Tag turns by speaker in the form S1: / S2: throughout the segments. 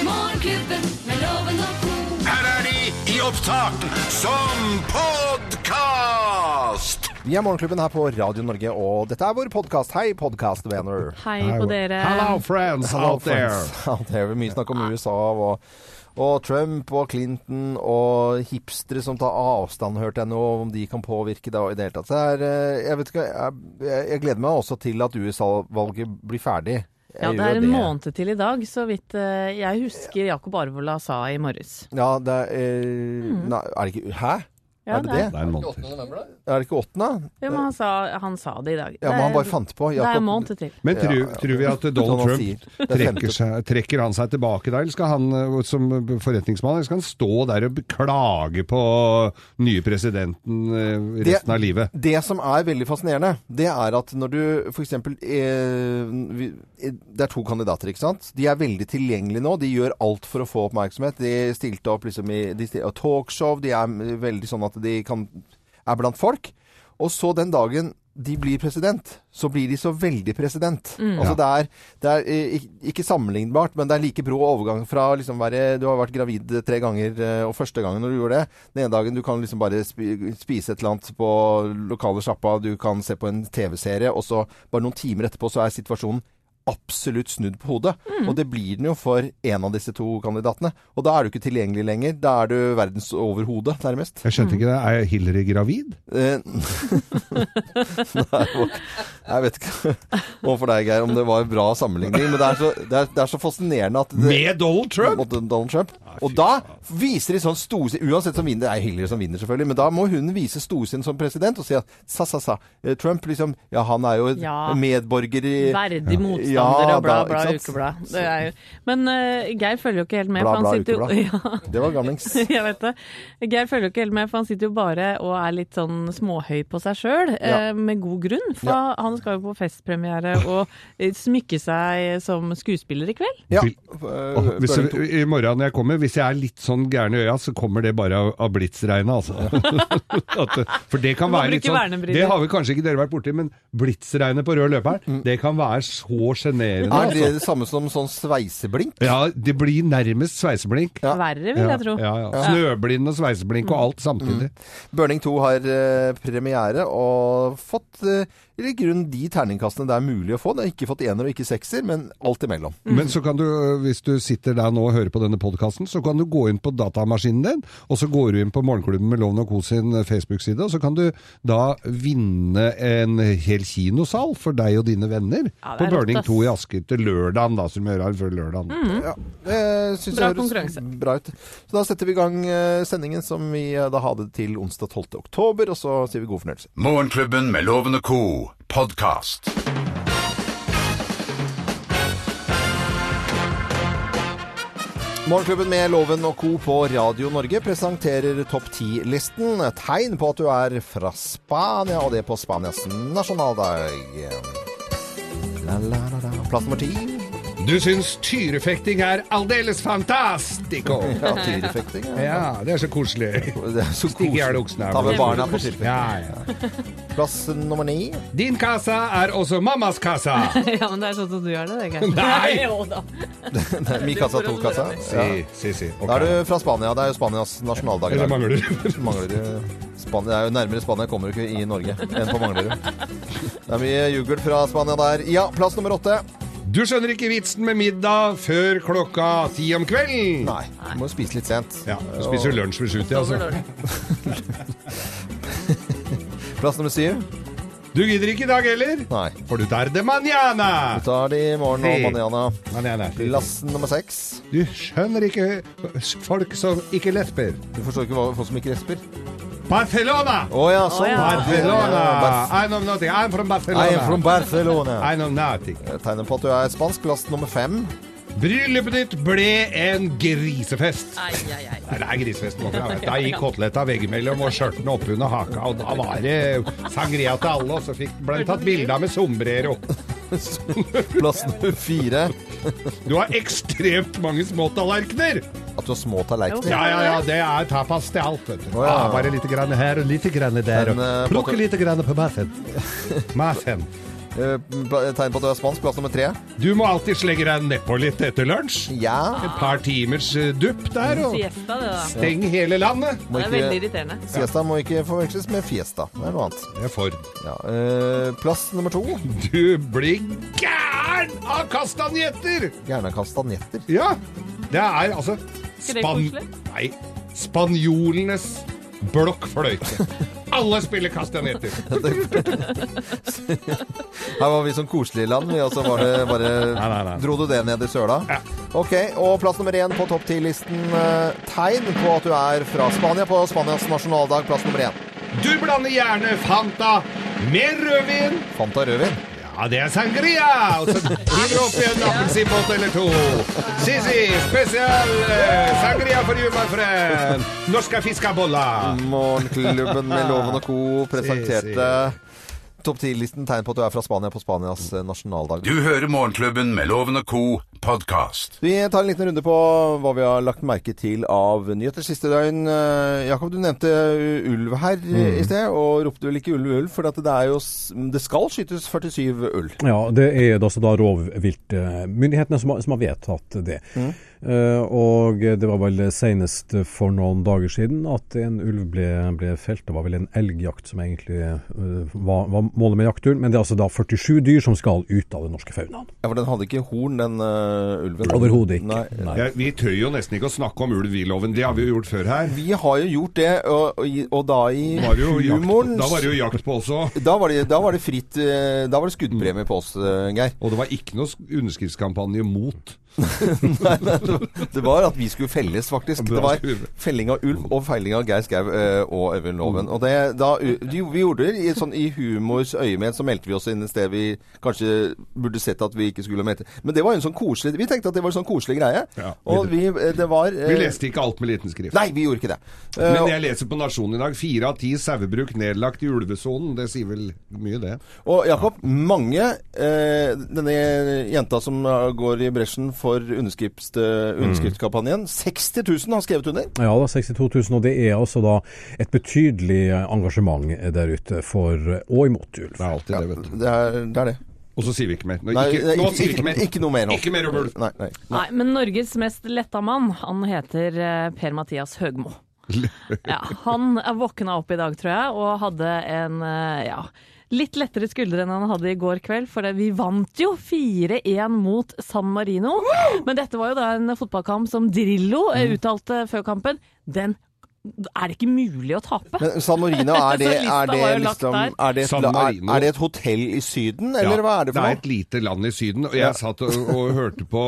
S1: Morgenklubben med loven og ko.
S2: Her er de i opptak som podkast!
S3: Vi er Morgenklubben her på Radio Norge, og dette er vår podkast. Hei, podkastvenner.
S4: Hei på dere.
S5: Hello, friends out there.
S3: Out there. Mye snakk om USA og, og Trump og Clinton og hipstere som tar avstand, hørte jeg nå, om de kan påvirke det og i det hele tatt. Så det er, eh, jeg, vet ikke, jeg, jeg gleder meg også til at USA-valget blir ferdig. Jeg
S4: Ja, det
S3: gjør
S4: er en måned til i dag, så vidt eh, jeg husker Jakob Arvola sa i morges.
S3: Ja, det er, eh, nei, er det ikke Hæ?
S4: Mm. Ja,
S3: er det
S4: det
S3: det?
S4: er-
S5: Det er en måned til.
S3: Er det ikke åttende?
S4: Jo, men han sa, han sa det i dag.
S3: Ja, men han bare fant på.
S4: Det er
S3: Jakob-
S4: en måned til.
S5: Men tror,
S3: Ja, ja.
S5: tror vi at Donald
S3: Sånn han
S5: Trump
S3: sier. Det er femte.
S5: trekker, seg, trekker han seg tilbake da, eller skal han eh, som forretningsmann eller skal han stå der og klage på nye presidenten eh, resten av livet?
S3: Det som er veldig fascinerende, det er at når du f.eks. Eh, vi- eh, det er to kandidater, ikke sant. De er veldig tilgjengelige nå. De gjør alt for å få oppmerksomhet. De stilte opp liksom i de stil- og talkshow. De er mm, veldig sånn at de kan, er blant folk. Og så den dagen de blir president, så blir de så veldig president. Altså det er, det er eh, ik- ikke sammenlignbart, men det er like brå overgang fra liksom være Du har vært gravid tre ganger, eh, og første gangen når du gjorde det Den ene dagen du kan liksom bare spi- spise et eller annet på lokale sjappa, du kan se på en TV-serie, og så bare noen timer etterpå så er situasjonen absolutt snudd på hodet. Og det blir den jo for en av disse to kandidatene. Og da er du ikke tilgjengelig lenger. Da er du verdens overhode, nærmest.
S5: Jeg skjønte ikke det. Er Hillary gravid?
S3: Eh, Nei, hvor- jeg vet ikke overfor deg, Geir, om det var en bra sammenligning, men det er så, det er, det er så fascinerende at det,
S5: Med Donald Trump?
S3: mot Donald Trump. Og da viser de sånn storsinn Uansett som vinner, det er Hillary som vinner, selvfølgelig, men da må hun vise storsinn som president og si at sa, sa, sa. eh, Trump liksom Ja, han er jo et
S4: Ja.
S3: medborger i
S4: Verdig motstander
S3: Ja,
S4: og bla,
S3: da,
S4: bla,
S3: ikke sant?
S4: ukeblad. Det er jo. Men eh, Geir følger jo ikke helt med.
S3: Bla,
S4: for han
S3: bla,
S4: sitter jo- Ja,
S3: Det var gamlings.
S4: jeg vet det. Geir følger jo ikke helt med, for han sitter jo bare og er litt sånn småhøy på seg sjøl,
S3: Ja.
S4: med god grunn. For
S3: Ja.
S4: han skal jo på festpremiere og eh, smykke seg som skuespiller i kveld.
S3: Ja.
S5: Vil- Åh,
S3: eh,
S5: hvis,
S3: Børling to.
S5: I morgen når jeg kommer, hvis jeg er litt sånn gæren i øya, så kommer det bare av, av blitsregnet, altså. At, det- for det kan
S4: Du må
S5: være litt
S4: bruke
S5: sånn
S4: vernebriller.
S5: Det har vel kanskje ikke dere vært borti, men blitsregnet på rød løper, det kan være så sjenerende.
S3: Mm. Er det
S5: Altså.
S3: det samme som sånn sveiseblink?
S5: Ja, det blir nærmest sveiseblink.
S3: Ja.
S4: Verre, vil
S5: Ja,
S4: jeg tro.
S5: ja, ja. Snøblind og sveiseblink og alt
S3: Mm.
S5: samtidig.
S3: Burning 2 har eh, premiere og fått eh, i grunn de terningkastene det er mulig å få. Det har ikke fått ener og ikke sekser, men alt imellom.
S4: Mm.
S5: Men så kan du, øh, hvis du sitter der nå og hører på denne podkasten, så kan du gå inn på datamaskinen din, og så går du inn på Morgenklubben med Loven og Co sin øh, Facebook-side, og så kan du da vinne en hel kinosal for deg og dine venner
S4: Ja, det
S5: på
S4: er rått,
S5: Burning
S4: ass. Mm.
S5: 2 i Asker til lørdagen, da, som vi gjør her før lørdagen.
S3: Ja, det syns
S4: Bra
S3: jeg høres
S4: konkurranse.
S3: bra ut. Så da setter vi i gang eh, sendingen som vi eh, da hadde til onsdag 12. oktober, og så sier vi god fornøyelse.
S2: Morgenklubben med Loven og co. podkast.
S3: Morgenklubben med Loven og Co. på Radio Norge presenterer Topp 10-listen. Et tegn på at du er fra Spania, og det på Spanias nasjonaldag. La, la, la, la. Plass nummer ti.
S5: Du syns tyrefekting er aldeles fantastico!
S3: Ja, tyrefekting. Ja.
S5: Ja, det er så koselig.
S3: Det er så
S5: Stig i hjel
S3: koselig.
S5: oksene her.
S3: Ta med barna på skiltet.
S5: Ja, ja.
S3: Plass nummer ni.
S5: Din kassa er også mammas kassa.
S4: Ja, men det er sånn som du gjør det, det, Geir.
S5: Nei!
S4: Jo da.
S3: Det er Mi kassa, to kassa. Ja.
S5: Si, si, si. Ok.
S3: Da er du fra Spania. Det er jo Spanias nasjonaldag. i
S5: Eller
S3: dag.
S5: mangler du?
S3: Mangler du Spania? Det er jo nærmere Spania kommer du ikke i Norge enn på Manglerud. Det er mye jugel fra Spania der. Ja, plass nummer åtte.
S5: Du skjønner ikke vitsen med middag før klokka ti om kvelden.
S3: Nei, du må jo spise litt sent.
S5: Ja, Du spiser jo lunsj ved sjutida, altså.
S3: Plass nummer syv.
S5: Du gidder ikke i dag heller?
S3: Nei.
S5: For du tar det manjana.
S3: Vi tar det i morgen og
S5: Hey.
S3: manana.
S5: manjana.
S3: Plass nummer seks.
S5: Du skjønner ikke folk som ikke lesber.
S3: Du forstår ikke hva folk som ikke resper?
S5: Barcelona!
S3: Å ja, sånn.
S4: Å ja.
S5: Barcelona!
S3: Ja, Bar-
S5: I know nothing. I'm from Barcelona.
S3: I am from Barcelona.
S5: I know nothing.
S3: Tegner på at du er spansk. Plass nummer fem.
S5: Bryllupet ditt ble en grisefest.
S4: Ai, ai, ai.
S5: Nei, det er grisefesten vår. jeg vet. Da gikk koteletta veggimellom og skjørtene oppunder haka, og da var det sangria til alle, og så fikk, ble det tatt bilde av med sombrero.
S3: Plass nummer fire.
S5: Du har ekstremt mange små tallerkener!
S3: At du har små tallerkener.
S5: Ja, ja, ja, det er tapas til alt, vet du.
S3: Å, ja.
S5: Ah, bare litt grann her og litt grann der.
S3: Men, eh,
S5: og Plukke
S3: potet-
S5: litt grann på maten. Maten.
S3: Eh, pla- Tegn på at du er spansk. Plass nummer tre.
S5: Du må alltid slegge deg nedpå litt etter lunsj.
S3: Ja.
S5: Et par timers eh, dupp der, og
S4: Siesta, det da.
S5: steng hele landet.
S3: Må
S4: Det er veldig
S3: ikke,
S4: irriterende.
S3: siesta må ikke forveksles med fiesta. Det er noe annet.
S5: Jeg er for.
S3: Ja, eh, plass nummer to.
S5: Du blir gæren av kastanjetter!
S3: Gjerne kastanjetter.
S5: Ja, det er altså
S4: det
S5: span
S4: koselig?
S5: Nei, spanjolenes blokkfløyte. Alle spiller kastanjetter.
S3: Her var vi som koselige land, vi, og så var det bare
S5: Nei, nei, nei.
S3: Dro du det ned i søla?
S5: Ja.
S3: Ok, og plass nummer én på topp ti-listen. eh, Tegn på at du er fra Spania på Spanias nasjonaldag. Plass nummer én.
S5: Du blander gjerne Fanta med rødvin.
S3: Fanta rødvin.
S5: Ja, det er sangria! Og så hiver du oppi en appelsinbåt eller to. Sisi, spesial eh, sangria for you, my friend. Norske fiskaboller.
S3: Morgenklubben med Loven og Co. presenterte
S5: Si,
S3: topp ti-listen tegn på at du er fra Spania på Spanias eh, nasjonaldag.
S2: Du hører Morgenklubben med Loven og Co. podkast.
S3: Vi tar en liten runde på hva vi har lagt merke til av nyheter siste døgn. Eh, Jakob, du nevnte u- ulv her eh, i sted, og ropte vel ikke ulv, ulv, for at det, er jo, s- det skal skytes 47 ulv.
S6: Ja, det er altså da rovviltmyndighetene som, har- som har vedtatt det. Eh, og det var vel senest for noen dager siden at en ulv ble, ble felt. Det var vel en elgjakt som egentlig eh, var, var målet med jakturen. Men det er altså da 47 dyr som skal ut av den norske faunaen.
S3: Ja, for den hadde ikke horn, den eh, ulven.
S6: Overhodet ikke.
S3: Nei.
S6: Nei.
S5: Ja, vi tør jo nesten ikke å snakke om ulv i loven. Det har vi jo gjort før her.
S3: Vi har jo gjort det, og, og, i- og da i
S5: Var det jo jakt,
S3: humorens
S5: da var det jo jakt på også.
S3: da var det, da var det fritt eh, Da var det skuddpremie på oss, eh, Geir.
S5: Og det var ikke noe sk- underskriftskampanje mot.
S3: Nei, nei, det var- det var at vi skulle felles, faktisk. Det var felling av ulv og felling av Geir Skau eh, og Øyvind Loven.
S5: Mm.
S3: Og det, da, u- de- vi gjorde det i, sånn, i humors øyemed, så meldte vi oss inn et sted vi kanskje burde sett at vi ikke skulle melde. Men det var jo en sånn koselig Vi tenkte at det var en sånn koselig greie.
S5: Ja.
S3: og vi, eh, det var eh,
S5: Vi leste ikke alt med liten skrift.
S3: Nei, vi gjorde ikke det. Eh,
S5: Men jeg leser på Nasjonen i dag. Fire av ti sauebruk nedlagt i ulvesonen. Det sier vel mye, det.
S3: Og Jakob, mange eh, Denne jenta som eh, går i bresjen for underskrift, eh,
S5: Mm.
S3: underskriftskampanjen 60 000 har skrevet under.
S6: Ja da, 62 000. Og det er altså da et betydelig engasjement der ute for og imot ulv.
S5: Det er alltid det, vet du.
S3: Det er det. Er det.
S5: Og så sier vi ikke mer. Nå,
S3: Nei,
S5: ikke, nå
S3: ikke-
S5: sier vi ikke mer.
S3: ikke- ikke noe mer nå.
S5: Ikke mer om ulv.
S3: Nei, nei.
S4: Nei, men Norges mest letta mann, han heter eh, Per-Mathias Høgmo. Ja, han er våkna opp i dag, tror jeg, og hadde en eh, ja, litt lettere skulder enn han hadde i går kveld. For det- vi vant jo 4-1 mot San Marino. Men dette var jo da en fotballkamp som Drillo eh,
S3: Mm.
S4: uttalte før kampen. Den er det ikke mulig å tape.
S3: Men San Marino, er det,
S4: Så lista
S3: er det,
S4: var jo lagt
S3: liksom,
S4: der.
S3: er, det et,
S5: San
S3: la- er,
S5: Marino.
S3: er det et hotell i Syden, eller
S5: Ja,
S3: hva er det for
S5: Det
S3: noe?
S5: er et lite land i Syden, og jeg
S3: Ja.
S5: satt og, og hørte på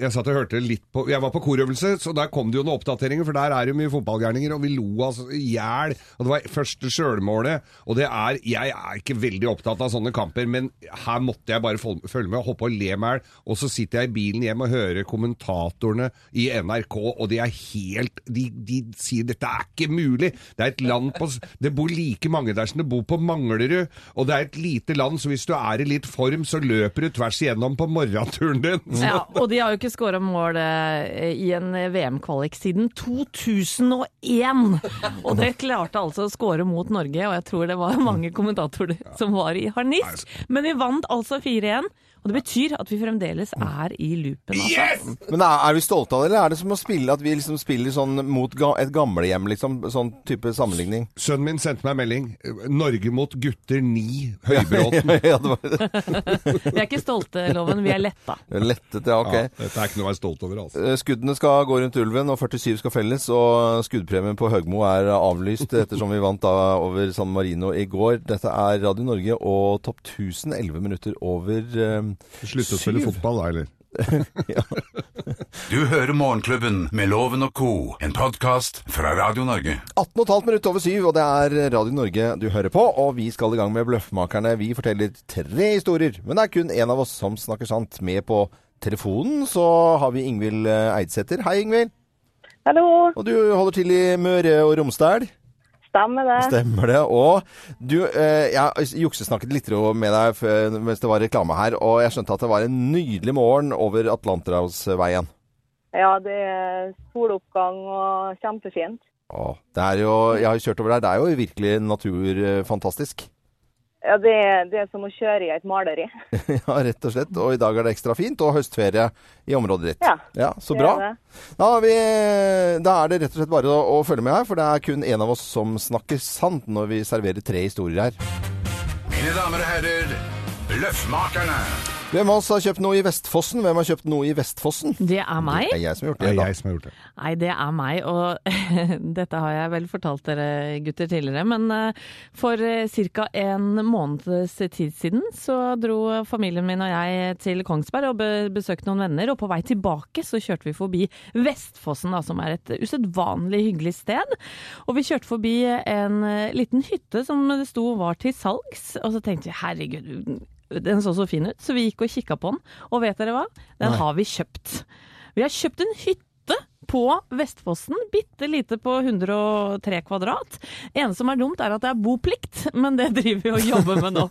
S5: Jeg satt og hørte litt på Jeg var på korøvelse, så der kom det jo noen oppdateringer, for der er det jo mye fotballgærninger, og vi lo altså i hjel. Og det var første sjølmålet, og det er Jeg er ikke veldig opptatt av sånne kamper, men her måtte jeg bare fol- følge med og hoppe og le meg i Og så sitter jeg i bilen hjem og hører kommentatorene i NRK, og de er helt De, de sier dette er ikke mulig. Det er et land på s- Det bor like mange der som det bor på Manglerud, og det er et lite land, så hvis du er i litt form, så løper du tvers igjennom på morgenturen din.
S4: Ja, og de har jo ikke skåra mål eh, i en VM-kvalik siden 2001! Og det klarte altså å skåre mot Norge, og jeg tror det var mange kommentatorer som var i harnisk. Men vi vant altså 4-1, og det betyr at vi fremdeles er i loopen. Altså.
S3: Men er, er vi stolte av det, eller er det som å spille at vi liksom spiller sånn mot ga, et gamlehjem, liksom? Sånn type sammenligning.
S5: Sønnen min sendte meg en melding. 'Norge mot gutter 9', Høybråten.
S3: ja, det var
S4: Vi er ikke stolte, Loven, vi er letta.
S3: lettet, ja, ok.
S5: Ja, dette er ikke noe å være stolt over, altså.
S3: Eh, Skuddene skal gå rundt ulven, og 47 skal felles. Og skuddpremien på Høgmo er avlyst, ettersom vi vant da over San Marino i går. Dette er Radio Norge og Topp 1000, 11 minutter over eh,
S5: Slutte å spille
S3: Syv.
S5: fotball, da, eller?
S2: Du hører Morgenklubben med Loven og Co. En podkast fra Radio Norge.
S3: 18,5 minutter over syv, og det er Radio Norge du hører på. Og vi skal i gang med Bløffmakerne. Vi forteller tre historier, men det er kun én av oss som snakker sant. Med på telefonen så har vi Ingvild eh, Eidsæter. Hei, Ingvild.
S7: Hallo,
S3: Og du holder til i Møre og Romsdal.
S7: stemmer det?
S3: Stemmer det. Og du, eh, jeg juksesnakket litt med deg før- mens det var reklame her, og jeg skjønte at det var en nydelig morgen over Atlanterhavsveien.
S7: Ja, det er soloppgang og kjempefint.
S3: Åh, det er jo, jeg har jo kjørt over der. Det er jo virkelig natur eh, fantastisk.
S7: Ja, det, er- det er som å kjøre i et maleri.
S3: Ja, rett og slett. Og i dag er det ekstra fint, og høstferie i området ditt.
S7: Ja,
S3: Så
S7: det er
S3: bra.
S7: det.
S3: Da, har vi, da er det rett og slett bare å, å følge med her, for det er kun én av oss som snakker sant når vi serverer tre historier her.
S2: Mine damer og herrer, Løffmakerne.
S3: Hvem av oss har kjøpt noe i Vestfossen? Hvem har kjøpt noe i Vestfossen?
S4: Det er meg.
S3: Det er jeg som har gjort
S5: Det
S3: det.
S5: er
S3: da.
S5: jeg som har gjort det.
S4: Nei, det er meg, og dette har jeg vel fortalt dere gutter tidligere, men eh, for ca. en måneds tid siden så dro familien min og jeg til Kongsberg og be- besøkte noen venner, og på vei tilbake så kjørte vi forbi Vestfossen, da, som er et usedvanlig hyggelig sted. Og vi kjørte forbi en eh, liten hytte som det sto var til salgs, og så tenkte vi herregud, den så så fin ut, så vi gikk og kikka på den, og vet dere hva? Den har vi kjøpt. Vi har kjøpt en hytte på Vestfossen, bitte lite på 103 kvadrat. Ene som er dumt er at det er boplikt, men det driver vi og jobber med nå.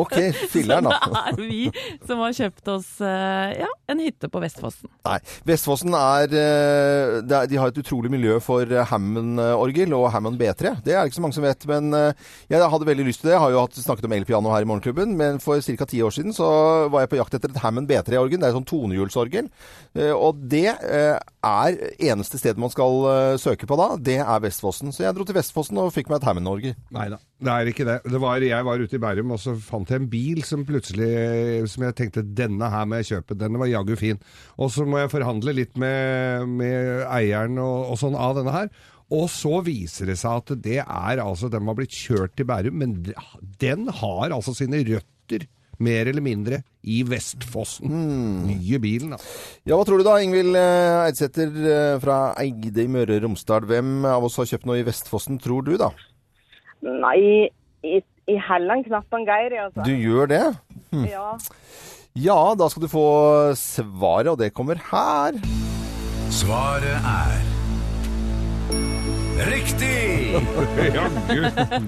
S3: Ok, filler'n, da.
S4: Det er vi som har kjøpt oss eh, ja, en hytte på Vestfossen.
S3: Nei. Vestfossen er, eh, det er De har et utrolig miljø for eh, Hammond-orgel og Hammond B3. Det er det ikke så mange som vet, men eh, jeg hadde veldig lyst til det. Jeg har jo hatt, snakket om elpiano her i Morgenklubben, men for ca. ti år siden så var jeg på jakt etter et Hammond B3-orgel. Det er et sånn tonehjulsorgel. Eh, Og det eh, er eneste stedet man skal eh, søke på da, det er Vestfossen. Så jeg dro til Vestfossen og fikk meg et Hammond-orgel.
S5: Nei da, det er ikke det. det var, jeg var ute i Bærum, og så fant jeg en bil som plutselig Som jeg tenkte denne her må jeg kjøpe, denne var jaggu fin. Og så må jeg forhandle litt med, med eieren og, og sånn av denne her. Og så viser det seg at det er altså Den var blitt kjørt til Bærum, men den har altså sine røtter, mer eller mindre, i Vestfossen.
S3: Hmm.
S5: Nye bilen, altså.
S3: Ja, hva tror du da, Ingvild eh, Eidsæter eh, fra Eide i Møre og Romsdal. Hvem av oss har kjøpt noe i Vestfossen, tror du da?
S7: Nei, i, i Helland knapt han Geir, altså.
S3: Du gjør det?
S7: Ja.
S3: Ja, da skal du få svaret, og det kommer her.
S2: Svaret er Riktig!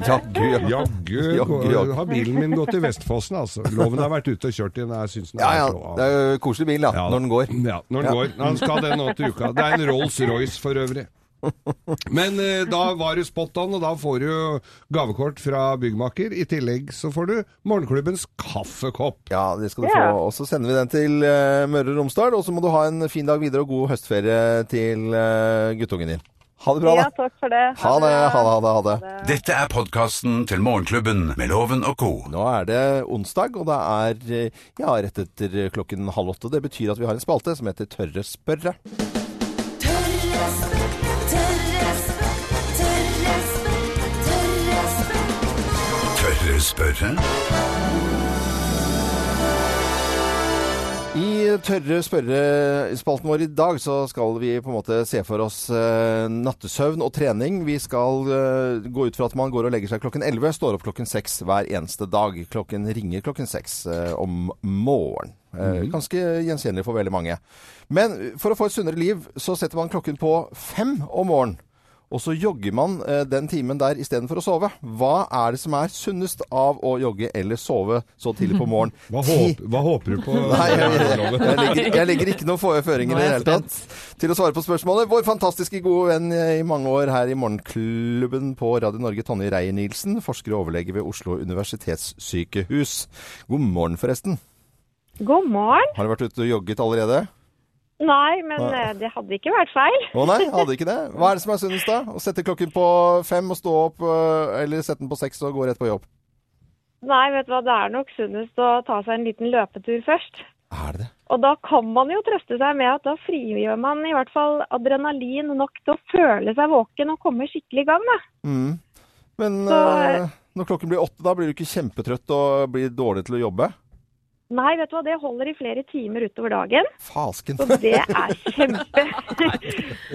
S5: Jaggu
S3: Jaggu, jaggu.
S5: jaggu har bilen min gått til Vestfossen, altså. Loven har vært ute og kjørt i den, jeg syns den
S3: Ja,
S5: er
S3: ja,
S5: så av.
S3: det er jo koselig bil da,
S5: Ja,
S3: når den går.
S5: Ja, når den
S3: Ja.
S5: går. Han skal det nå til uka. Det er en Rolls-Royce for øvrig. Men eh, da var du spot on, og da får du gavekort fra byggmaker. I tillegg så får du morgenklubbens kaffekopp.
S3: Ja, det skal du
S7: Ja.
S3: få. Og så sender vi den til eh, Møre og Romsdal, og så må du ha en fin dag videre og god høstferie til eh, guttungen din. Ha det bra,
S7: ja,
S3: da.
S7: takk for det.
S3: Ha det, ha det, ha det. ha det.
S2: Dette er podkasten til Morgenklubben med Loven og co.
S3: Nå er det onsdag, og det er eh, ja, rett etter klokken halv åtte. Det betyr at vi har en spalte som heter Tørre spørre.
S1: Tørre spørre, tørre spørre, tørre spørre, tørre spørre.
S2: Tør du spørre?
S3: I tørre spørrespalten vår i dag så skal vi på en måte se for oss eh, nattesøvn og trening. Vi skal eh, gå ut fra at man går og legger seg klokken 11, står opp klokken 6 hver eneste dag. Klokken ringer klokken 6 eh, om morgenen. Eh,
S5: Mhm.
S3: ganske gjenkjennelig for veldig mange. Men for å få et sunnere liv så setter man klokken på 5 om morgenen. Og så jogger man eh, den timen der istedenfor å sove. Hva er det som er sunnest av å jogge eller sove så tidlig på morgenen?
S5: Hva,
S3: Ti-
S5: håp, hva håper du på?
S3: Nei, jeg, jeg,
S5: Loven?
S3: jeg, legger, jeg legger ikke noen få- føringer
S4: Nå
S3: i det
S4: er jeg
S3: hele tatt til å svare på spørsmålet. Vår fantastiske gode venn eh, i mange år her i Morgenklubben på Radio Norge, Tonje Reier-Nielsen, forsker og overlege ved Oslo universitetssykehus. God morgen, forresten.
S7: God morgen.
S3: Har du vært ute og jogget allerede?
S7: Nei, men eh, det hadde ikke vært feil.
S3: Å nei, hadde ikke det. Hva er det som er sunnest da? Å sette klokken på fem og stå opp, øh, eller sette den på seks og gå rett på jobb?
S7: Nei, vet du hva, det er nok sunnest å ta seg en liten løpetur først.
S3: Er det det?
S7: Og da kan man jo trøste seg med at da frigjør man i hvert fall adrenalin nok til å føle seg våken og komme skikkelig i gang, da.
S3: Mm. Men
S7: Så-
S3: øh, når klokken blir åtte, da blir du ikke kjempetrøtt og blir dårlig til å jobbe?
S7: Nei, vet du hva, det holder i flere timer utover dagen.
S3: Fasken.
S7: Så det er kjempe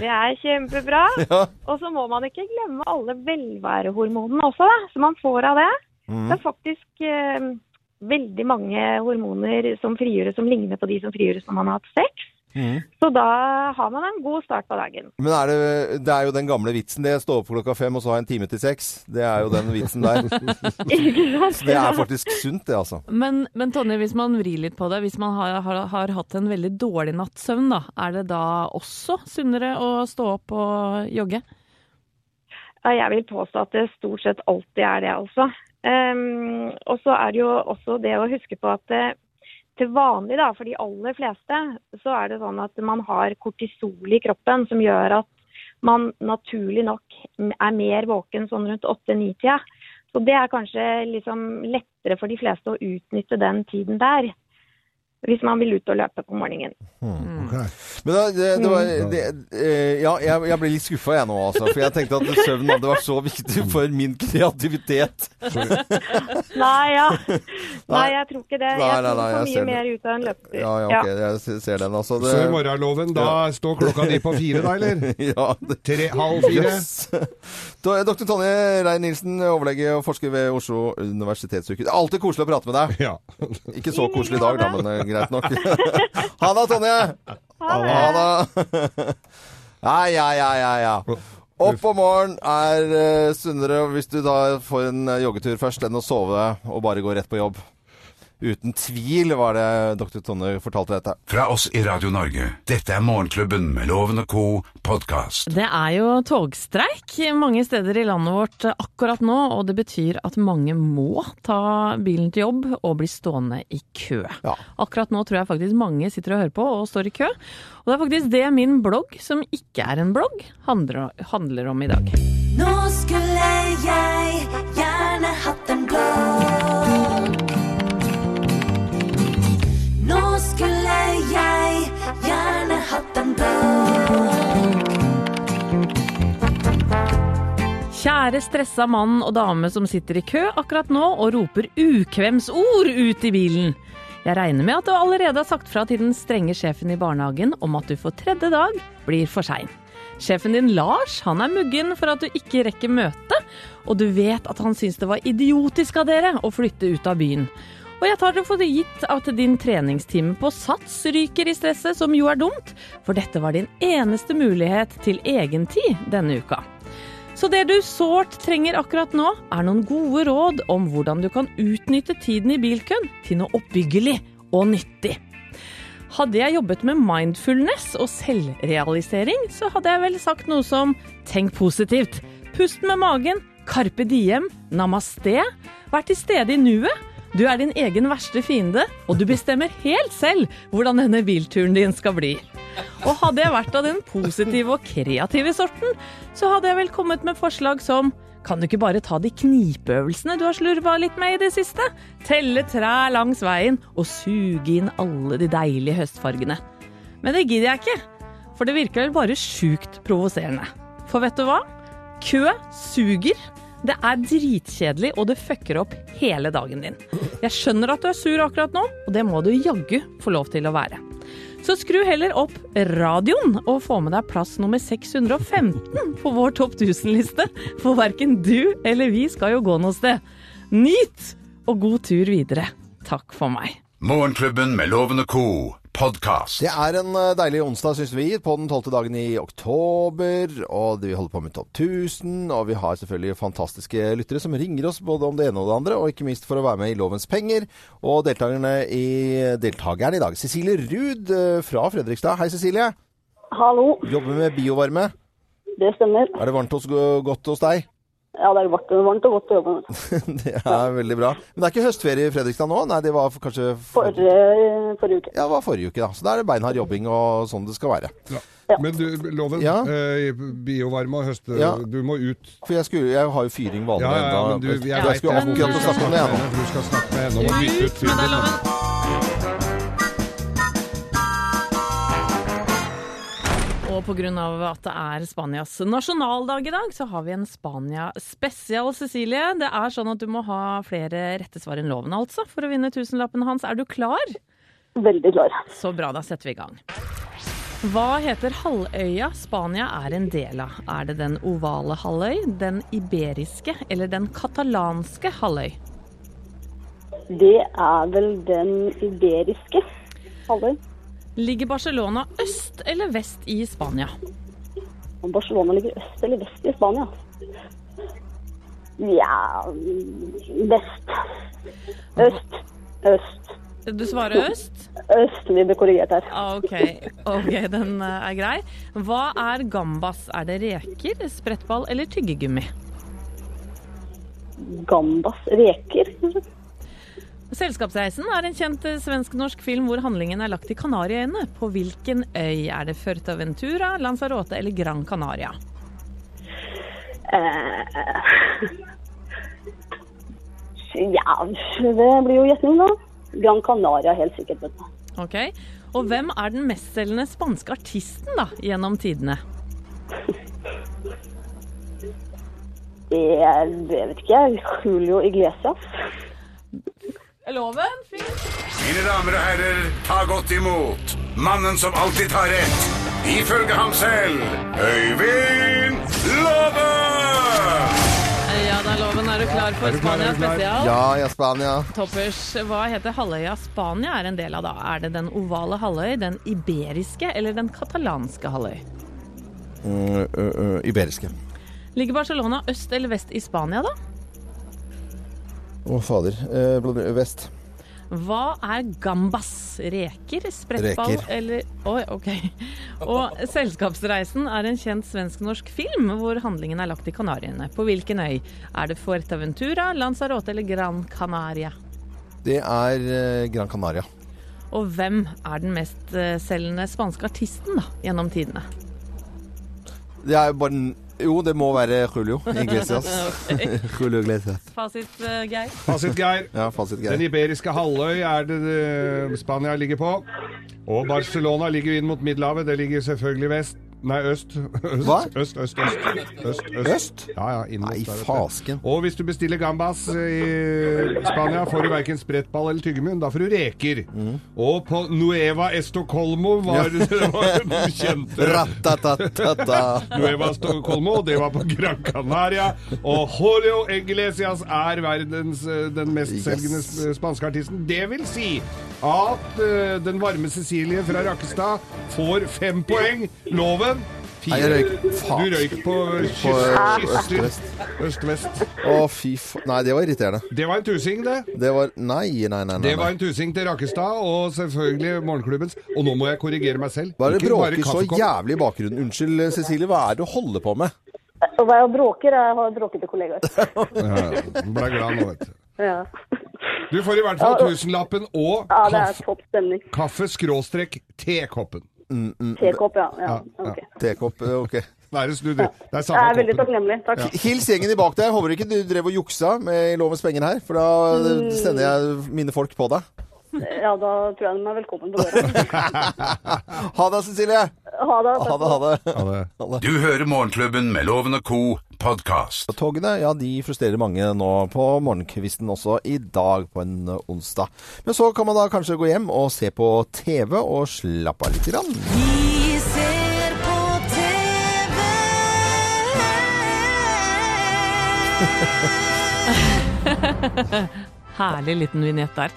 S7: Det er kjempebra.
S3: Ja.
S7: Og så må man ikke glemme alle velværehormonene også, da, som man får av det.
S3: Mm.
S7: Det er faktisk eh, veldig mange hormoner som frigjøres som ligner på de som frigjøres når man har hatt sex.
S5: Mm.
S7: Så da har man en god start på dagen.
S3: Men er det, det er jo den gamle vitsen det. Stå opp klokka fem og så ha en time til seks. Det er jo den vitsen der.
S7: Ikke sant?
S3: Så det er faktisk sunt, det, altså.
S4: Men, men Tonje, hvis man vrir litt på det, hvis man har, har, har hatt en veldig dårlig natts søvn, da, er det da også sunnere å stå opp og jogge?
S7: Ja, Jeg vil påstå at det stort sett alltid er det, altså. Ehm, og så er det jo også det å huske på at eh, til vanlig, da, for de aller fleste, så er det sånn at man har kortisol i kroppen som gjør at man naturlig nok er mer våken sånn rundt 8-9-tida. Så det er kanskje liksom lettere for de fleste å utnytte den tiden der. Hvis man vil ut og løpe på morgenen.
S5: Mm.
S3: Men da, det, det var, det, eh, ja, jeg, jeg ble litt skuffa jeg nå, altså. For jeg tenkte at søvn hadde vært så viktig for min kreativitet.
S7: Nei, ja. Nei,
S3: Nei.
S7: jeg tror ikke det.
S3: Nei,
S7: Jeg
S3: nei,
S7: tror
S3: nei,
S7: for
S3: jeg ser
S7: mye
S3: det.
S7: mer ut av en løpetur.
S3: Ja, ja, ok, jeg se- ser den, altså. Det,
S5: Så i morgenloven, da står klokka di på fire, da, eller?
S3: ja, det,
S5: Tre, halv fire?
S3: Yes. Da, Dr. Tonje Rein-Nilsen, overlege og forsker ved Oslo universitetssykehus. Alltid koselig å prate med deg.
S5: Ja.
S3: Ikke så koselig i dag, da, men eh, greit nok. ha det, Tonje!
S7: Ha det.
S3: Ha det! Ja, ja, ja, ja, ja. Opp om morgenen er eh, sunnere hvis du da får en eh, joggetur først, enn å sove og bare gå rett på jobb. Uten tvil var det dr. Tonje fortalte dette.
S2: Fra oss i Radio Norge. Dette er Morgenklubben med Loven og co. podkast.
S4: Det er jo togstreik mange steder i landet vårt akkurat nå, og det betyr at mange må ta bilen til jobb og bli stående i kø.
S3: Ja.
S4: Akkurat nå tror jeg faktisk mange sitter og hører på og står i kø. Og det er faktisk det min blogg, som ikke er en blogg, handler, handler om i dag.
S1: Nå skulle jeg gjerne hatt en blogg. Nå skulle jeg gjerne hatt en blogg.
S4: Kjære stressa mann og dame som sitter i kø akkurat nå og roper ukvemsord ut i bilen. Jeg regner med at du allerede har sagt fra til den strenge sjefen i barnehagen om at du for tredje dag blir for sein. Sjefen din Lars han er muggen for at du ikke rekker møtet, og du vet at han syns det var idiotisk av dere å flytte ut av byen. Og jeg tar det for gitt at din treningstime på sats ryker i stresset, som jo er dumt, for dette var din eneste mulighet til egentid denne uka. Så det du sårt trenger akkurat nå, er noen gode råd om hvordan du kan utnytte tiden i bilkøen til noe oppbyggelig og nyttig. Hadde jeg jobbet med mindfulness og selvrealisering, så hadde jeg vel sagt noe som tenk positivt, pust med magen, carpe diem, namaste, vær til stede i nuet. Du er din egen verste fiende, og du bestemmer helt selv hvordan denne bilturen din skal bli. Og hadde jeg vært av den positive og kreative sorten, så hadde jeg vel kommet med forslag som kan du ikke bare ta de knipeøvelsene du har slurva litt med i det siste? Telle trær langs veien og suge inn alle de deilige høstfargene. Men det gidder jeg ikke, for det virker vel bare sjukt provoserende. For vet du hva? Kø suger. Det er dritkjedelig, og det fucker opp hele dagen din. Jeg skjønner at du er sur akkurat nå, og det må du jaggu få lov til å være. Så skru heller opp radioen og få med deg plass nummer 615 på vår topp 1000-liste, for verken du eller vi skal jo gå noe sted. Nyt, og god tur videre. Takk for meg.
S2: Morgenklubben med Loven og co. podkast.
S3: Det er en eh, deilig onsdag, syns vi, på den tolvte dagen i oktober. Og det- vi holder på med Topp 1000, og vi har selvfølgelig fantastiske lyttere som ringer oss både om det ene og det andre, og ikke minst for å være med i Lovens penger. Og deltakerne i, deltakerne i dag, Cecilie Ruud eh, fra Fredrikstad. Hei, Cecilie.
S8: Hallo,
S3: Jobber med biovarme.
S8: det stemmer.
S3: Er det varmt og s- godt hos deg?
S8: Ja, det er varmt, varmt og godt å jobbe med.
S3: det er veldig bra. Men det er ikke høstferie i Fredrikstad nå? Nei, det var f- kanskje
S8: Forrige, eh, forrige uke.
S3: Ja, det var forrige uke, da. Så da er det beinhard jobbing og sånn det skal være.
S5: Men du, Loven.
S3: Ja.
S5: eh, biovarme og høst...
S3: Ja.
S5: Du må ut.
S3: For jeg, skulle, jeg har jo fyring vanlig
S5: Ja, ja, ja, men du,
S3: ennå.
S5: jeg
S3: Jeg
S5: vet
S3: skulle
S5: det, hvorfor
S3: akkurat
S5: du
S3: å snakke om det, jeg nå.
S5: henne. Du skal snakke med henne om å bytte ut
S4: Ut med deg,
S5: filmen.
S4: loven! Og pga. at det er Spanias nasjonaldag i dag, så har vi en Spania spesial, Cecilie. Det er sånn at du må ha flere rette svar enn loven, altså, for å vinne tusenlappen hans. Er du klar?
S8: Veldig klar.
S4: Så bra, da setter vi i gang. Hva heter halvøya Spania er en del av? Er det den ovale halvøy, den iberiske eller den katalanske halvøy?
S8: Det er vel den iberiske halvøy.
S4: Ligger Barcelona øst eller vest i Spania?
S8: Om Barcelona ligger øst eller vest i Spania? Ja Vest. Øst. Øst.
S4: Du svarer øst?
S8: Øst. Vi ble korrigert her.
S4: Ah, ok. ok, den eh, er grei. Hva er gambas? Er det reker, sprettball eller tyggegummi?
S8: Gambas reker.
S4: Selskapsreisen er en kjent eh, svensk-norsk film hvor handlingen er lagt i Kanariøyene. På hvilken øy er det Fuerteventura, Lanzarote eller Gran Canaria?
S8: Eh, ja, det blir jo gjetning, da. Gran Canaria, helt sikkert. vet du.
S4: Ok, Og hvem er den mestselgende spanske artisten da, gjennom tidene?
S8: Det er, jeg vet ikke, Julio Iglesias.
S4: Loven? Fint.
S2: Mine damer og herrer, ta godt imot mannen som alltid tar rett, ifølge ham selv, Øyvind Låve!
S4: Ja da, Loven, er du klar for
S5: Er du klar,
S4: Spania
S5: er du klar?
S4: spesial?
S3: Ja, ja, Spania.
S4: Toppers, hva heter halvøya Spania er en del av da? Er det den ovale halvøy, den iberiske eller den katalanske halvøy?
S3: Mm, ø, ø, iberiske.
S4: Ligger Barcelona øst eller vest i Spania da?
S3: Å, fader. Eh, bl- vest.
S4: Hva er gambas? Reker, sprettball
S3: Reker.
S4: eller Oi, ok. Og Selskapsreisen er en kjent svensk-norsk film hvor handlingen er lagt i Kanariøyene. På hvilken øy? Er det Fuerteventura, Lanzarote eller Gran Canaria?
S3: Det er eh, Gran Canaria.
S4: Og hvem er den mest eh, selgende spanske artisten da, gjennom tidene?
S3: Det er jo bare n- Jo, det må være Julio Iglesias. Julio Iglesias.
S4: Fasit, eh, Geir.
S5: Fasit, Geir.
S3: Ja, fasit
S5: Den
S3: greit.
S5: iberiske halvøy er det, det Spania ligger på. Og Barcelona ligger inn mot Middelhavet. Det ligger selvfølgelig vest. Nei, øst. Øst,
S3: Hva?
S5: øst, øst. Øst? øst,
S3: Øst?
S5: Ja, ja, inn mot
S3: Nei,
S5: der, vet du.
S3: fasken.
S5: Og hvis du bestiller gambas eh, i Spania, får du verken sprettball eller tyggemunn. Da får du reker.
S3: Mm.
S5: Og på Nueva Estocolmo var det var du kjente
S3: Ratatatata.
S5: Nueva Estocolmo, det var på Gran Canaria. Og Julio Iglesias er verdens eh, den mestselgende
S3: Yes.
S5: sp- spanske artisten. Det vil si at eh, den varme Cecilie fra Rakkestad får fem poeng. Loven
S3: Nei,
S5: fire.
S3: jeg røyk.
S5: Du
S3: Faen.
S5: røyk på kyss-
S3: På eh,
S5: kysser
S3: øst-vest.
S5: øst-vest.
S3: Å, fy faen. Nei, det var irriterende.
S5: Det var en tusing, det.
S3: Det var Nei, nei, nei. nei.
S5: Det var en tusing til Rakkestad, og selvfølgelig morgenklubbens. Og nå må jeg korrigere meg selv.
S3: Bare
S5: Ikke
S3: bråker så
S5: kaffekopp.
S3: jævlig i bakgrunnen. Unnskyld, Cecilie. Hva er det du holder på med?
S8: Og hva jeg bråker, jeg har bråkete kollegaer.
S5: Ja, hun ble glad nå, vet du.
S8: Ja.
S5: Du får i hvert fall
S8: Ja, og-
S5: tusenlappen og
S8: ja, det
S5: kaff,
S8: er topp stemning.
S5: kaffe-tekoppen.
S3: Mm,
S8: Tekopp, ja. ja.
S5: Ja, ja.
S8: ok.
S3: Tekopp? eh, Ok.
S5: Det er, snu, det Det er
S8: Jeg
S5: samme
S8: er veldig
S5: koppen.
S8: takknemlig. Takk.
S3: Hils gjengen i bak deg. Håper ikke du drev og juksa med i Lovens penger her, for da sender jeg mine folk på deg.
S8: Ja, da tror jeg de er velkommen på døra.
S3: Ha det, Cecilie.
S8: Ha det.
S3: Ha det, ha det.
S5: Ja, det-
S2: Du hører Morgenklubben med Loven og Co. podkast.
S3: Togene ja, de frustrerer mange nå på morgenkvisten også i dag på en onsdag. Men så kan man da kanskje gå hjem og se på TV og slappe av litt. Grann.
S1: Vi ser på TV.
S4: Herlig liten vignett der.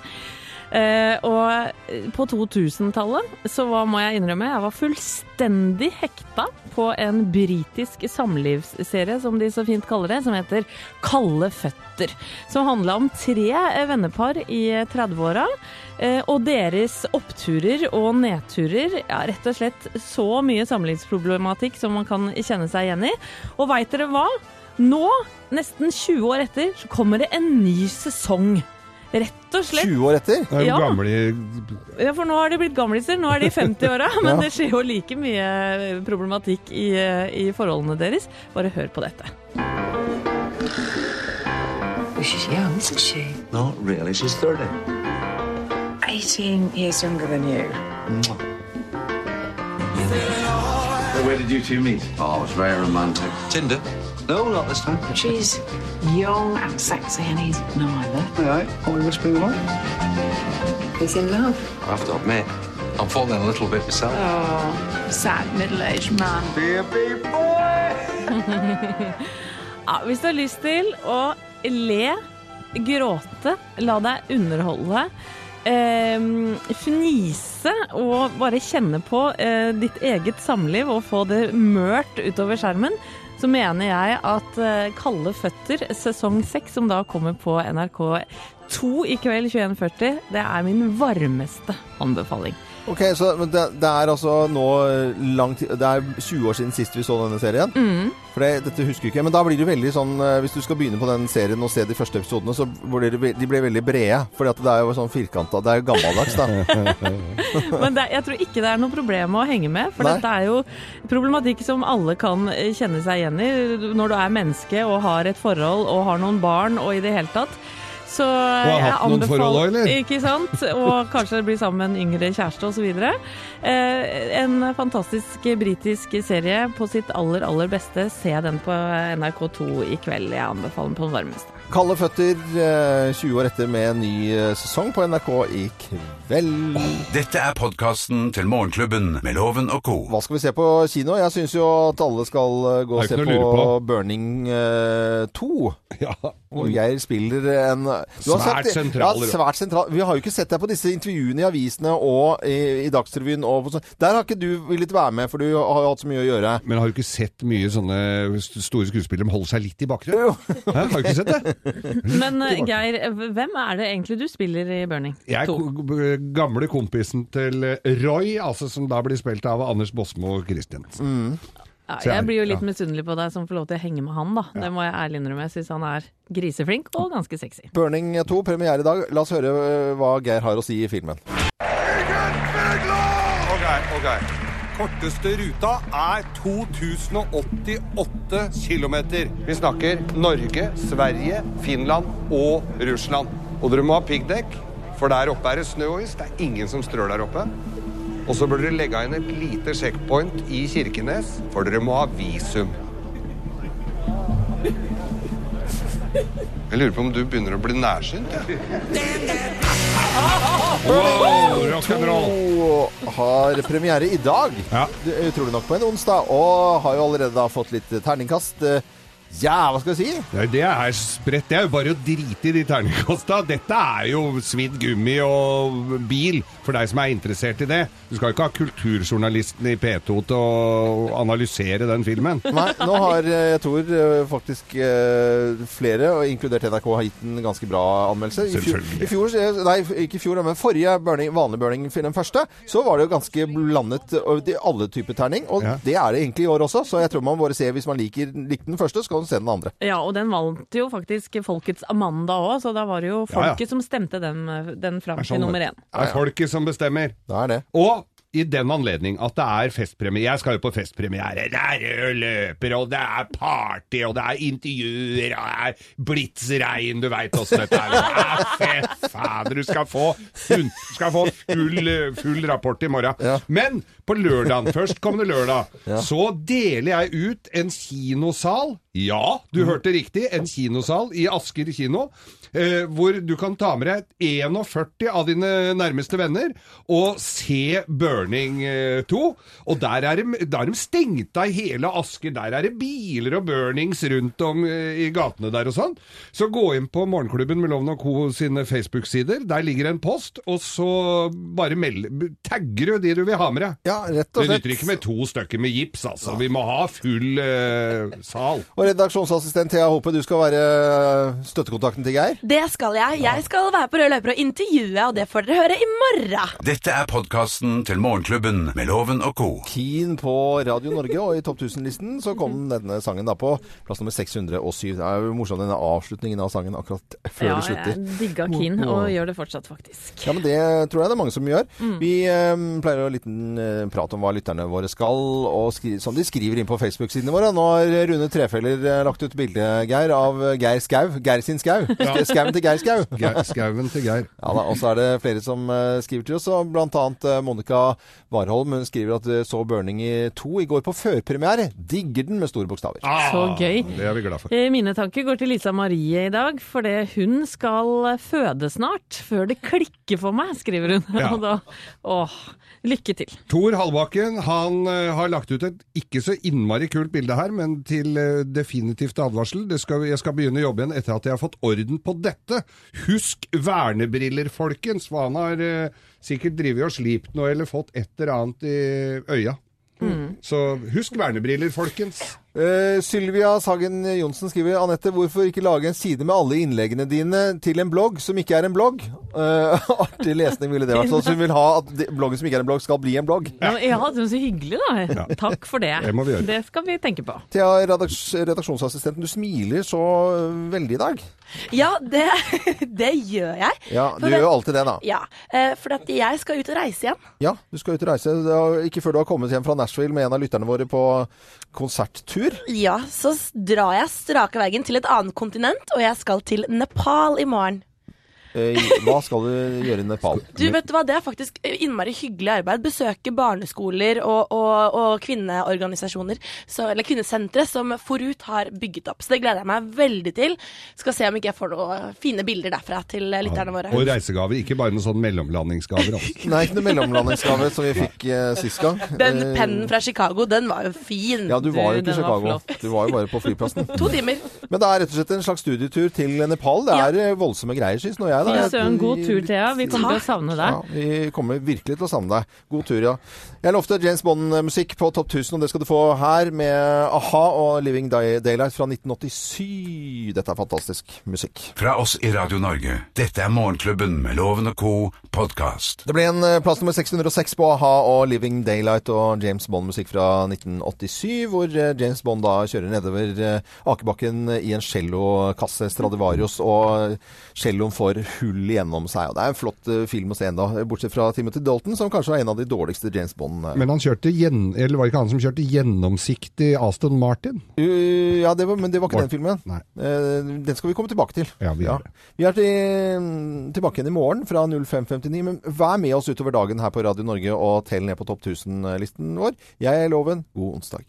S4: Eh, og på 2000-tallet så var, må jeg innrømme, jeg var fullstendig hekta på en britisk samlivsserie, som de så fint kaller det, som heter Kalde føtter. Som handla om tre eh, vennepar i 30-åra, eh, og deres oppturer og nedturer. Ja, rett og slett så mye samlivsproblematikk som man kan kjenne seg igjen i. Og veit dere hva? Nå, nesten 20 år etter, så kommer det en ny sesong. Rett og slett.
S3: 20 år etter.
S5: Det er jo
S4: Ja.
S5: gamle
S4: Ja, for nå har de blitt gamliser. Nå er de 50-åra. Men det skjer jo like mye problematikk i, eh, i forholdene deres. Bare hør på dette.
S9: She's young, isn't she?
S10: Not really. She's 30.
S9: 18 years younger than you.
S10: Where did you two meet? Oh, it was very romantic. Tinder? No, not this time.
S9: She's young and sexy, and he's neither.
S10: Aye, aye. Only whisper the line.
S9: He's in love.
S10: I have to admit, I'm falling a little bit myself.
S9: Sad middle aged man.
S10: Baby boy!
S4: Ja, hvis du har lyst til å le, gråte, la deg underholde, eh, fnise og bare kjenne på eh, ditt eget samliv og få det mørt utover skjermen, så mener jeg at eh, Kalde føtter sesong 6, som da kommer på NRK2 i kveld 21.40, det er min varmeste anbefaling.
S3: Ok, så men det, det er altså nå lang tid Det er 20 år siden sist vi så denne serien. For det, dette husker jeg ikke. Men da blir det jo veldig sånn eh, Hvis du skal begynne på den serien og se de første episodene, så blir det, ve- de blir veldig brede. For det er jo sånn firkanta Det er jo gammeldags, da.
S4: Men det, jeg tror ikke det er noe problem å henge med, for
S3: Nei.
S4: dette er jo problematikk som alle kan eh, kjenne seg igjen i når du er menneske og har et forhold og har noen barn og i det hele tatt. Så og
S5: har hatt noen forhold også, eller?
S4: Ikke sant? Og kanskje blir sammen med en yngre kjæreste osv. Eh, en fantastisk britisk serie på sitt aller, aller beste. Se den på NRK2 i kveld. Jeg anbefaler den på det varmeste.
S3: Kalde føtter eh, 20 år etter med en ny eh, sesong på NRK i kveld.
S2: Dette er podkasten til Morgenklubben med Loven og co.
S3: Hva skal vi se på kino? Jeg syns jo at alle skal eh, gå og
S5: Det er
S3: se
S5: ikke
S3: på,
S5: noe å lure
S3: Burning eh, 2.
S5: Ja.
S3: Hvor Geir spiller en du har
S5: Svært sentral
S3: ja,
S5: rolle.
S3: svært sentral. Vi har jo ikke sett deg på disse intervjuene i avisene og i, i Dagsrevyen. Og på sånn. Der har ikke du villet være med, for du har jo hatt så mye å gjøre.
S5: Men har du ikke sett mye sånne st- store skuespillere som holder seg litt i bakgrunnen?
S3: Jo.
S5: Hæ? Har du ikke sett Mm. det?
S4: Men eh, Geir, hvem er det egentlig du spiller i Burning?
S5: Jeg er ko- b- gamle kompisen til eh, Roy, altså som da blir spilt av Anders Båsmo Christiansen.
S4: Ja,
S5: Så jeg-
S4: jeg blir jo litt
S5: ja.
S4: misunnelig på deg som får lov til å henge med han, da. Det må jeg ærlig innrømme. Jeg syns han er griseflink og ganske sexy.
S3: Burning 2, premiere i dag. La oss høre eh, hva Geir har å si i filmen.
S11: Ok, ok. Korteste ruta er 2088 kilometer. Vi snakker Norge, Sverige, Finland og Russland. Og dere må ha piggdekk, for der oppe er det snø og is. Det er ingen som strør der oppe. Og så burde dere legge inn et lite sjekkpoint i Kirkenes, for dere må ha visum. Jeg lurer på om du begynner å bli nærsynt? Ja.
S5: Wow, rock'n'roll!
S3: Og har premiere i dag,
S5: Ja.
S3: Det- utrolig nok på en onsdag, og har jo allerede da fått litt terningkast. Eh, Ja, hva skal jeg si?
S5: Det er- Det er spredt. Det er jo bare å drite i de terningkasta. Dette er jo svidd gummi og bil, for deg som er interessert i det. Du skal jo ikke ha kulturjournalisten i P2 til å analysere den filmen.
S3: Nei, nå har eh, jeg tror eh, faktisk eh, flere, og inkludert NRK, har gitt den ganske bra anmeldelse. I fjor,
S5: Selvfølgelig.
S3: i fjor, eh, nei, ikke i fjor, da, men forrige burning, vanlig burning, den første, så var det jo ganske blandet eh, de- alle typer terning. Og
S5: Ja.
S3: det er det egentlig i år også, så jeg tror man bare ser hvis man liker, likte den første, så kan man se den andre.
S4: Ja, og den vant jo faktisk Folkets Amanda òg, så da var det jo
S5: Ja, sånn- ja.
S4: folket som stemte den, den fram
S5: Det er
S4: til nummer én.
S5: Det er folket som bestemmer.
S3: Da er det.
S5: Og i den anledning at det er festpremiere. Jeg skal jo på festpremiere. Det er rød løper, og det er party, og det er intervjuer, og det er blitsregn. Du veit åssen dette er. Det er fett, fader. Du skal få, fun- du skal få full, full rapport i morgen. Men på lørdagen, førstkommende lørdag, så deler jeg ut en kinosal. Ja, du hørte riktig. En kinosal i Asker kino. Eh, hvor du kan ta med deg 41 av dine nærmeste venner og se Burning eh, 2. Og der er de, der er de stengt av hele Asker. Der er det biler og burnings rundt om eh, i gatene der og sånn. Så gå inn på Morgenklubben med Loven og Co. sine Facebook-sider. Der ligger en post, og så bare meld, tagger du de du vil ha med deg.
S3: Ja, rett
S5: Det
S3: og slett.
S5: nytter ikke med to stykker med gips, altså. Vi må ha full eh, sal.
S3: Og redaksjonsassistent Thea Hope, du skal være eh, støttekontakten til Geir.
S12: Det skal jeg. Jeg skal være på rød løper og intervjue, og det får dere høre i morgen.
S2: Dette er podkasten til Morgenklubben med Loven og co.
S3: Keen på Radio Norge, og i topp 1000-listen så
S4: Mhm.
S3: kom denne sangen da på plass nummer 607. Det er jo morsomt denne avslutningen av sangen akkurat før
S4: Ja,
S3: det slutter.
S4: jeg digga Keen, og gjør det fortsatt, faktisk.
S3: Ja, men Det tror jeg det er mange som gjør.
S4: Mm.
S3: Vi eh, pleier å ha en liten eh, prat om hva lytterne våre skal, og skri som de skriver inn på Facebook-sidene våre. Nå har Rune Trefeller eh, lagt ut bilde, Geir, av eh, Geir Skau. Geir sin skau. Sk- Skauen til Geir Skau. Ja,
S5: Geir- Skauen til Geir.
S3: da, og så er det flere som eh, skriver til oss, og blant annet eh, Monica Warholm. Hun skriver at eh, så Burning i 2 i går på førpremiere. Digger den med store bokstaver.
S4: Så gøy.
S5: Ah, Det er vi glad for.
S4: Eh, Mine tanker går til Lisa Marie i dag, fordi hun skal føde snart. Før det klikker for meg, skriver hun.
S5: Ja.
S4: Og da, åh, lykke til.
S5: Tor Hallbakken han eh, har lagt ut et ikke så innmari kult bilde her, men til eh, definitivt advarsel. Det skal, jeg skal begynne å jobbe igjen etter at jeg har fått orden på dette. Husk vernebriller, folkens! For han har eh, sikkert drevet og slipt noe eller fått et eller annet i øya. Så husk vernebriller, folkens!
S3: Eh, Sylvia Sagen Johnsen skriver Anette, hvorfor ikke lage en side med alle innleggene dine til en blogg som ikke er en blogg? Eh, artig lesning ville det vært. Så hun vil ha at det- bloggen som ikke er en blogg, skal bli en blogg.
S4: Ja, det var så hyggelig, da. Takk for det.
S3: Det må vi gjøre.
S4: Det skal vi tenke på.
S3: Thea, redaks redaksjonsassistenten, du smiler så eh, veldig i dag.
S8: Ja, det, det gjør jeg.
S3: Ja,
S8: For
S3: du gjør jo alltid det, da.
S8: Ja, eh, for at jeg skal ut og reise igjen.
S3: Ja, du skal ut og reise. Det er Ikke før du har kommet hjem fra Nashville med en av lytterne våre på konserttur.
S8: Ja, så s- drar jeg strake veien til et annet kontinent, og jeg skal til Nepal i morgen.
S3: Eh, hva skal du gjøre i Nepal?
S8: Du vet du hva, Det er faktisk innmari hyggelig arbeid. Besøke barneskoler og, og, og kvinneorganisasjoner, så, eller kvinnesentre, som Forut har bygget opp. Så det gleder jeg meg veldig til. Skal se om ikke jeg får noen fine bilder derfra til lytterne våre.
S5: Og reisegaver, ikke bare noen sånne mellomlandingsgaver. Altså.
S3: Nei, ikke noe mellomlandingsgave som vi fikk eh, sist gang.
S8: Den
S3: Eh,
S8: pennen fra Chicago, den var jo fin.
S3: Ja, du var jo ikke i Chicago. Du var jo bare på flyplassen.
S8: To timer.
S3: Men det er rett og slett en slags studietur til Nepal. Det er eh, voldsomme greier, syns nå jeg. da.
S4: Fy
S3: Jeg-
S4: søren, god tur, Thea. Vi kommer til å
S3: Takk.
S4: savne
S3: Ja,
S4: deg.
S3: vi kommer virkelig til å savne deg. God tur, ja. Jeg lovte James Bond-musikk på Topp 1000, og det skal du få her med a-ha og 'Living Day- Daylight' fra 1987. Dette er fantastisk musikk.
S2: Fra oss i Radio Norge. Dette er Morgenklubben med Loven og co. podkast.
S3: Det ble en eh, plass nummer 606 på a-ha og 'Living Daylight' og James Bond-musikk fra 1987, hvor eh, James Bond da kjører nedover eh, akebakken i en cellokasse Stradivarius, og eh, celloen får hull gjennom seg. Og det er en flott eh, film å se ennå, bortsett fra Timothy Dalton, som kanskje er en av de dårligste James Bond. eh.
S5: Men han kjørte gjen, eller var det ikke han som kjørte gjennomsiktig Aston Martin?
S3: Uh, ja, det var, men det var ikke
S5: Var-
S3: den filmen. Eh, den skal vi komme tilbake til.
S5: Ja, vi gjør det.
S3: Vi er til, tilbake igjen i morgen fra 05.59, men vær med oss utover dagen her på Radio Norge og tell ned på topp 1000-listen vår. Jeg er Loven. God onsdag.